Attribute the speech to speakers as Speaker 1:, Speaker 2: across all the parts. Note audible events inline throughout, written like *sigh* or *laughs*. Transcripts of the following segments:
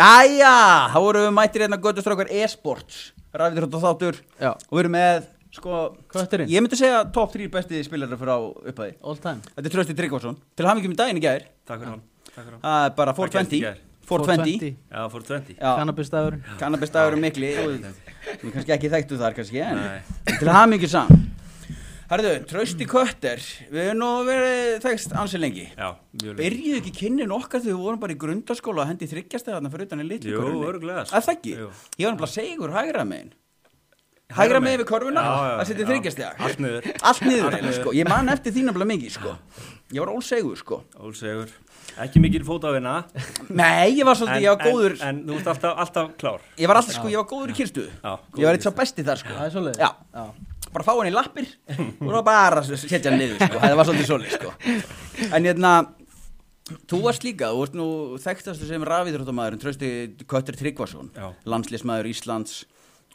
Speaker 1: Jæja, þá vorum við mættir hérna göttustrákar e-sports Ræðir út á þáttur
Speaker 2: Já.
Speaker 1: Og við erum með, sko
Speaker 2: Kötturinn.
Speaker 1: Ég myndi segja top 3 besti spilarar frá upphæði
Speaker 2: All time
Speaker 1: Þetta er Trösti Tryggvason Til hamingjum í daginn í gær
Speaker 3: Takk fyrir hann Takk fyrir hann
Speaker 1: Það er bara
Speaker 3: Hvað gerðist í
Speaker 1: 420
Speaker 3: gær?
Speaker 1: 420
Speaker 3: Já, fór 20
Speaker 1: Já.
Speaker 2: Cannabis dagurinn
Speaker 1: Cannabis dagur er mikli og Við kannski ekki þekktu þar kannski En
Speaker 3: Nei.
Speaker 1: til hamingjum saman Herðu, Trösti Kötter Við erum nú verið þekst ansi lengi
Speaker 3: Já, mjög lengi.
Speaker 1: Byrjuðu ekki kynnin okkar þegar við vorum bara í grundaskóla að hendi þryggjast þarna fyrir utan í litlu
Speaker 3: Jú,
Speaker 1: körfunni?
Speaker 3: örugglega, sko.
Speaker 1: Að það ekki?
Speaker 3: Jú.
Speaker 1: Ég var nefnilega að segja ykkur hægra megin Hægra megin við körfuna
Speaker 3: Já, já,
Speaker 1: að setja
Speaker 3: já.
Speaker 1: þryggjast þegar
Speaker 3: Allt niður.
Speaker 1: Allt niður,
Speaker 3: Allt
Speaker 1: eiginlega,
Speaker 3: niður.
Speaker 1: sko Ég man eftir því nefnilega mikið, sko
Speaker 3: *laughs*
Speaker 1: Ég var ólsegur, sko
Speaker 3: Ólsegur Ekki mikil
Speaker 1: *laughs*
Speaker 3: fótavina
Speaker 1: Nei, ég var svolítið, ég var góður
Speaker 3: en, en þú ert alltaf, alltaf klár
Speaker 1: Ég var alltaf, sko, ég var góður í kyrstu
Speaker 3: Já,
Speaker 1: Ég var
Speaker 3: góður í
Speaker 1: eitt sá besti þar, sko
Speaker 2: Það er svoleiðis.
Speaker 1: Já, bara fá hann í lappir og þá bara s- setja hann niður sko. það var svolítið svolítið sko. en hérna þú varst líka, þú varst nú þekktastu sem rafiðróttamæðurinn Trösti Kötter Tryggvason
Speaker 3: Já.
Speaker 1: landslísmæður Íslands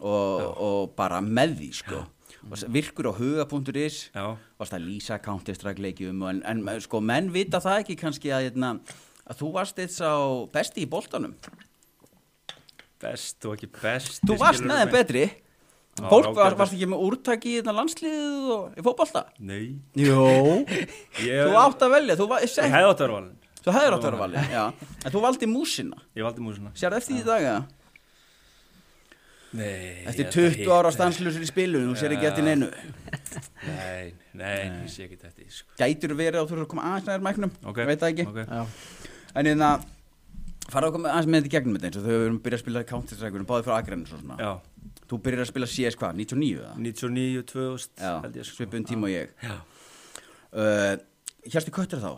Speaker 1: og, og bara með því sko. Og s- virkur á huga.is
Speaker 3: Já.
Speaker 1: varst að lýsa Counter-Strike leikjum og en, en sko, menn vita það ekki kannski að, hérna, að þú varst eitt sá besti í boltanum
Speaker 3: Best og ekki best
Speaker 1: þú varst með þeim betri
Speaker 3: Já,
Speaker 1: Fólk
Speaker 3: ágætis.
Speaker 1: var, varst ekki með úrtaki í hérna, landsliðið og í fótbolta?
Speaker 3: Nei
Speaker 1: Jó
Speaker 3: ég,
Speaker 1: Þú átt að velja, þú, va-
Speaker 3: Ég
Speaker 1: seg,
Speaker 3: hefði átt að vera valin
Speaker 1: þú hefur átt að vera valið já. En þú valdi músina,
Speaker 3: Ég valdi músina
Speaker 1: sér eftir því í dag eða?
Speaker 3: Nei
Speaker 1: Eftir
Speaker 3: ég
Speaker 1: 20 ára
Speaker 3: hitt-
Speaker 1: stanslusur í spilun, þú sér ekki
Speaker 3: Já.
Speaker 1: eftir neinu
Speaker 3: Nei, nei, ég sé ekki þetta í, sko.
Speaker 1: Gætur verið að þú eru að koma aðeins næður mæknum
Speaker 3: Ok,
Speaker 1: Veit það ekki
Speaker 3: ok.
Speaker 2: Já
Speaker 1: En en að fara að koma aðeins með þetta í gegnum þetta eins og þau erum byrjað að spila Counter-Strike Báði frá Akrenn og svona
Speaker 3: Já,
Speaker 1: Þú byrjar að spila CS hvað, 99 eða?
Speaker 3: 99, 2000 held
Speaker 1: Já,
Speaker 3: ég sko.
Speaker 1: svipun tíma og ég
Speaker 3: Já.
Speaker 1: uh, Hjartu köttur þá?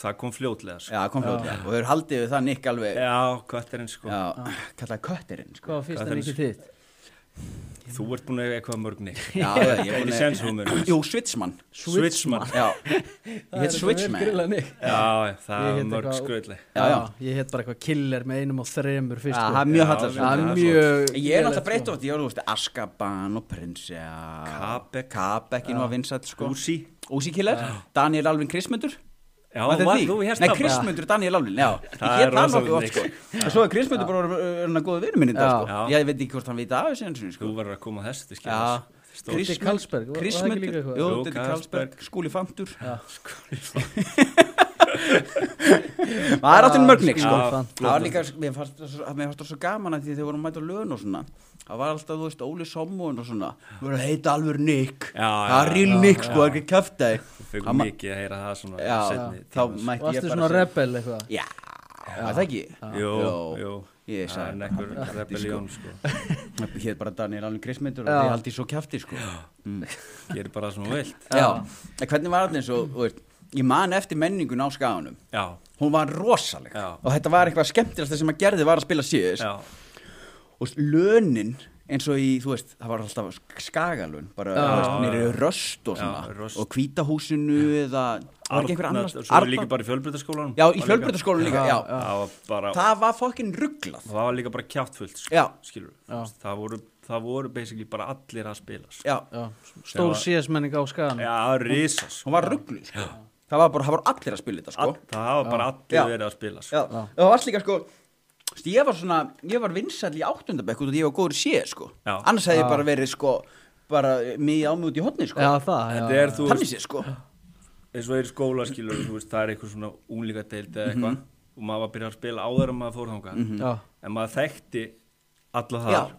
Speaker 3: Það kom fljótlega sko.
Speaker 1: Já, kom fljóðlega Og þau eru haldið við það nikk alveg
Speaker 3: Já, kötturinn sko.
Speaker 1: Já, kallaði kötturinn sko.
Speaker 2: Hvað var
Speaker 3: Hvað
Speaker 2: fyrsta
Speaker 3: er
Speaker 2: nýttið þitt?
Speaker 3: Þú ert búin að eiga eitthvað mörg nýtt
Speaker 1: Já, já, ég er
Speaker 3: Ekki
Speaker 1: búin að-
Speaker 3: sens hún mörg
Speaker 1: Jú, Switchman
Speaker 3: Switchman
Speaker 1: Já, ég heit Switchman
Speaker 2: Grilla mig
Speaker 3: Já,
Speaker 2: Ég
Speaker 3: það er
Speaker 2: hét
Speaker 3: mörg
Speaker 2: eitthvað-
Speaker 3: skröðli
Speaker 1: Já, já.
Speaker 2: Ég hétt bara eitthvað killer með einum og þremur fyrst
Speaker 1: Já,
Speaker 2: sko.
Speaker 1: það er mjög
Speaker 3: Já,
Speaker 1: hallar
Speaker 2: Það er
Speaker 3: það er
Speaker 2: mjög sko.
Speaker 1: Ég er náttúrulega breytt
Speaker 3: sko.
Speaker 1: ofti, ég var, þú veist, Askaban og Prinsja
Speaker 3: Kabek.
Speaker 1: Kabek, ég nú að vinsætt, sko
Speaker 3: Úsi
Speaker 1: Úsíkiller, Daniel Alvin Krismundur
Speaker 3: Já,
Speaker 1: Var þetta
Speaker 3: var-
Speaker 1: því?
Speaker 3: þú hérst
Speaker 1: Nei,
Speaker 3: það bara.
Speaker 1: Krismundur, Daniel Alvin, já Ég
Speaker 3: Það
Speaker 1: get
Speaker 3: er
Speaker 1: það
Speaker 3: rosa
Speaker 1: nokkuð oft,
Speaker 3: mikið.
Speaker 1: sko En svo er Krismundur bara orðinn- uh, orðinn að góða vinur minn í dag,
Speaker 2: Já.
Speaker 1: sko
Speaker 3: Já.
Speaker 1: Ég veit ekki hvort hann vita af þessu einu sinni,
Speaker 3: Þú
Speaker 1: sko
Speaker 3: verður að koma að þessu til skil
Speaker 1: Já,
Speaker 3: Stór
Speaker 2: Diddi Karlsberg, var- var það ekki
Speaker 1: Krismundur,
Speaker 2: líka eitthvað?
Speaker 1: jú,
Speaker 3: Jú,
Speaker 1: Diddi
Speaker 3: Karlsberg.
Speaker 1: Karlsberg, Skúli Fantur *laughs*
Speaker 3: Krismundur
Speaker 1: Það er áttin mörgnik sko
Speaker 3: Já,
Speaker 1: Það var líka, mér fannst það svo, mér fannst það svo gaman að því þegar vorum mætt á lögn og svona Það var alltaf, þú veist, Óli Sommon og svona Við vorum að heita alveg Nick
Speaker 3: Já, já,
Speaker 1: Það er real
Speaker 3: já,
Speaker 1: Nick
Speaker 3: já.
Speaker 1: sko, ekki kæftæði
Speaker 3: Fyrir mikið að heyra það svona
Speaker 1: Já,
Speaker 3: seinni
Speaker 1: þá
Speaker 3: tíma, sko.
Speaker 1: mætti ég
Speaker 2: Varstu
Speaker 1: bara
Speaker 2: svona
Speaker 1: segja-
Speaker 2: rebel eitthvað?
Speaker 1: Já, var það ekki
Speaker 3: Jú, jú
Speaker 1: Ég
Speaker 3: Það er
Speaker 1: sagði
Speaker 3: nekkur rebellion sko
Speaker 1: Ég heit bara Daniel Alvin Krismyndur og
Speaker 2: Já.
Speaker 1: þið haldið svo kæfti sko Mm.
Speaker 3: Gerir bara það
Speaker 1: *laughs*
Speaker 3: sem þú vilt
Speaker 1: Já, en hvernig var þetta eins og, þú veist, ég man eftir menningun á skaganum
Speaker 3: Já,
Speaker 1: Hún var rosaleg
Speaker 3: Já.
Speaker 1: og þetta var eitthvað skemmtilegsta sem að gerði var að spila síðis
Speaker 3: já
Speaker 1: og lönin eins og í, þú veist, það var alltaf skagalun, bara
Speaker 2: Já.
Speaker 1: þú veist, nýri röst og
Speaker 3: Já,
Speaker 1: svona,
Speaker 3: Röst.
Speaker 1: og hvítahúsinu eða, var ekki einhver annars
Speaker 3: Svo er líka bara í fjölbrytaskólanum
Speaker 1: já, í fjölbrytaskólanum líka, já,
Speaker 3: Það var bara
Speaker 1: það var fokkin rugglað,
Speaker 3: það var líka bara kjáttfullt sko,
Speaker 1: Já.
Speaker 3: skilur
Speaker 2: Já.
Speaker 3: það voru, það voru basically bara allir að spila sko.
Speaker 1: já,
Speaker 2: Já Stór
Speaker 3: var-
Speaker 2: CS menning á skagan
Speaker 3: já, risas sko.
Speaker 1: hún var ruggluð, sko, það var bara, það voru allir að spila þetta, sko,
Speaker 3: All, það hafa bara allir
Speaker 1: Já.
Speaker 3: verið að spila sko.
Speaker 1: já, og það var líka, sko, þú veist, ég var svona, ég var vinsall í áttundabekk út og ég var góður sé, sko,
Speaker 3: Já.
Speaker 1: annars hefði
Speaker 2: Já.
Speaker 1: ég bara verið, sko, bara mikið ámjóti í hotni, sko,
Speaker 2: Já, það já,
Speaker 3: þetta er þú
Speaker 1: þannig
Speaker 3: veist,
Speaker 1: sé, sko,
Speaker 3: eins og er í skóla skilur þú veist, það er eitthvað svona úlíka deild eða eitthvað
Speaker 1: Mhm.
Speaker 3: og maður var að byrja að spila áður en maður fór þangað
Speaker 2: Já
Speaker 3: en maður þekkti alla
Speaker 1: Já.
Speaker 3: þar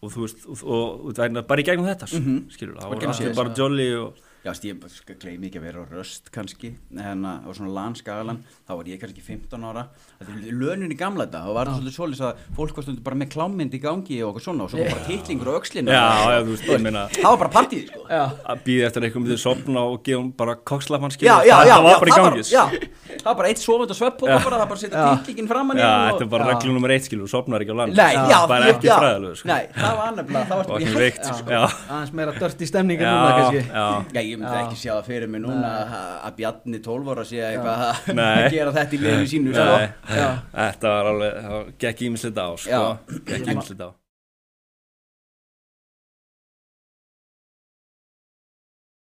Speaker 3: og þú veist, og, og, og það er bara í gegnum þetta mm skilur, það voru
Speaker 1: Mhm. gegnum
Speaker 3: allir
Speaker 1: CS,
Speaker 3: bara jolly og
Speaker 1: Já, veist, ég sk- gleymi ekki að vera á röst kannski, en að á svona landskagalan, þá var ég kannski 15 ára. Þetta er lönin í gamla þetta, þá var það svolítið svolítið að fólk var stundur bara með klámynd í gangi og okkur svona og svo kom bara tittlingur á öxlinu.
Speaker 3: Já, já, þú veist, ég meina-
Speaker 1: Það var bara partíð, sko.
Speaker 2: Já
Speaker 3: að býði eftir einhverjum til að sopna og gefa hún bara kokslafan
Speaker 1: Já, já, já, já,
Speaker 3: það var bara í
Speaker 1: það
Speaker 3: gangi sko.
Speaker 1: Já, það var bara eitt sofund og svepp og bara það var bara að setja tittlingin framan í
Speaker 3: Já,
Speaker 1: hann
Speaker 3: þetta er bara reglu nummer eitt skilur, þú sopnar ekki á land sko.
Speaker 1: Nei, já,
Speaker 3: Bara
Speaker 1: ég-
Speaker 3: ekki
Speaker 1: já.
Speaker 3: fræðilegu sko.
Speaker 1: Nei, það var annar blað, það var
Speaker 3: Og
Speaker 1: bara
Speaker 3: ekki
Speaker 1: í
Speaker 3: veikt sko. Já,
Speaker 2: Aðeins meira dört í stemningu núna
Speaker 3: já,
Speaker 2: kannski
Speaker 3: já
Speaker 1: Já, ég myndi ekki sjá það fyrir mig núna að- að Bjarni 12 ára sé eitthvað að
Speaker 3: Nei.
Speaker 1: gera þetta í liðinu sínu, sko.
Speaker 3: Nei, Þetta var alveg, það gekk ímislið á
Speaker 1: Já.
Speaker 3: sko Gekk ímislið á